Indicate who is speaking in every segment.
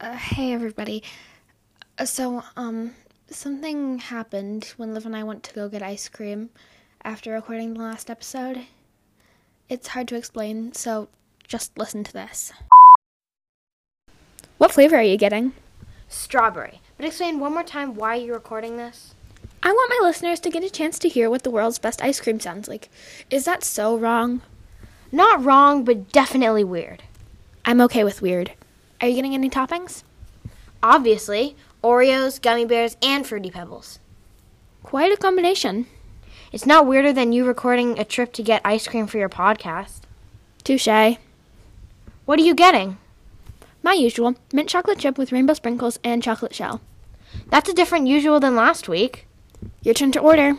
Speaker 1: Uh, hey everybody. Uh, So, um, something happened when Liv and I went to go get ice cream after recording the last episode. It's hard to explain, so just listen to this. What flavor are you getting?
Speaker 2: Strawberry. But explain one more time why you're recording this.
Speaker 1: I want my listeners to get a chance to hear what the world's best ice cream sounds like. Is that so wrong?
Speaker 2: Not wrong, but definitely weird.
Speaker 1: I'm okay with weird. Are you getting any toppings?
Speaker 2: Obviously, Oreos, gummy bears, and fruity pebbles.
Speaker 1: Quite a combination.
Speaker 2: It's not weirder than you recording a trip to get ice cream for your podcast.
Speaker 1: Touche.
Speaker 2: What are you getting?
Speaker 1: My usual mint chocolate chip with rainbow sprinkles and chocolate shell.
Speaker 2: That's a different usual than last week.
Speaker 1: Your turn to order.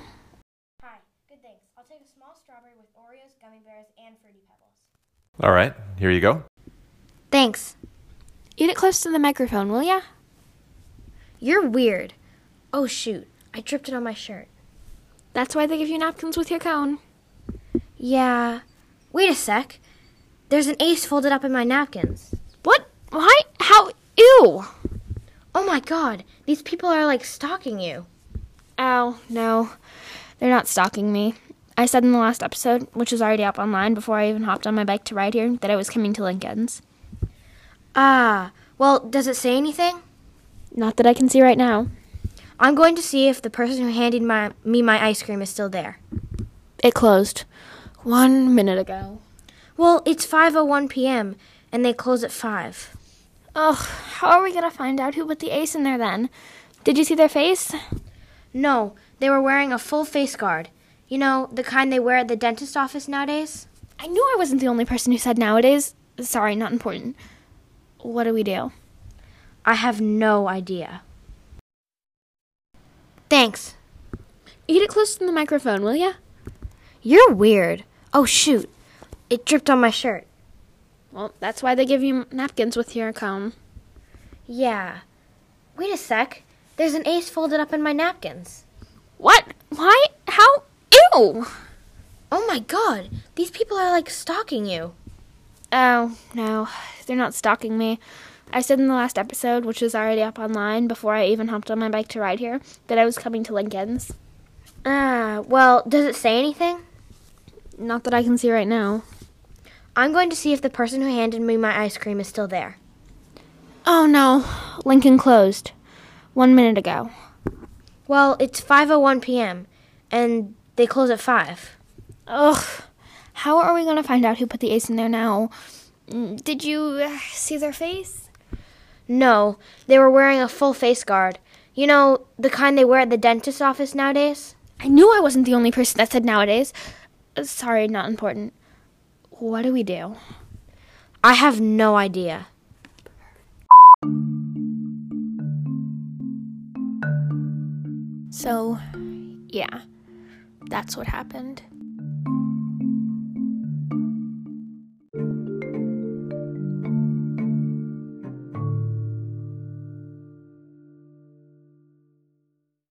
Speaker 2: Hi, good thanks. I'll take a small strawberry with Oreos, gummy bears, and fruity pebbles.
Speaker 3: All right, here you go.
Speaker 2: Thanks.
Speaker 1: Eat it close to the microphone, will ya?
Speaker 2: You're weird. Oh shoot, I dripped it on my shirt.
Speaker 1: That's why they give you napkins with your cone.
Speaker 2: Yeah. Wait a sec. There's an ace folded up in my napkins.
Speaker 1: What? Why? How? Ew!
Speaker 2: Oh my god, these people are like stalking you.
Speaker 1: Oh, no. They're not stalking me. I said in the last episode, which was already up online before I even hopped on my bike to ride here, that I was coming to Lincoln's.
Speaker 2: Ah, well, does it say anything?
Speaker 1: Not that I can see right now.
Speaker 2: I'm going to see if the person who handed my, me my ice cream is still there.
Speaker 1: It closed. One minute ago.
Speaker 2: Well, it's 5:01 p.m. and they close at 5.
Speaker 1: Ugh, how are we gonna find out who put the ace in there then? Did you see their face?
Speaker 2: No, they were wearing a full face guard. You know, the kind they wear at the dentist office nowadays?
Speaker 1: I knew I wasn't the only person who said nowadays. Sorry, not important. What do we do?
Speaker 2: I have no idea. Thanks.
Speaker 1: Eat it close to the microphone, will ya?
Speaker 2: You're weird. Oh shoot. It dripped on my shirt.
Speaker 1: Well, that's why they give you napkins with your comb.
Speaker 2: Yeah. Wait a sec. There's an ace folded up in my napkins.
Speaker 1: What? Why? How? Ew!
Speaker 2: Oh my god, these people are like stalking you.
Speaker 1: Oh, no. They're not stalking me. I said in the last episode, which is already up online before I even hopped on my bike to ride here, that I was coming to Lincoln's.
Speaker 2: Ah, well, does it say anything?
Speaker 1: Not that I can see right now.
Speaker 2: I'm going to see if the person who handed me my ice cream is still there.
Speaker 1: Oh, no. Lincoln closed. One minute ago.
Speaker 2: Well, it's 5:01 p.m. and they close at 5.
Speaker 1: Ugh. How are we going to find out who put the ace in there now? Mm, Did you uh, see their face?
Speaker 2: No, they were wearing a full face guard. You know, the kind they wear at the dentist's office nowadays?
Speaker 1: I knew I wasn't the only person that said nowadays. Uh, Sorry, not important. What do we do?
Speaker 2: I have no idea.
Speaker 1: So, yeah, that's what happened.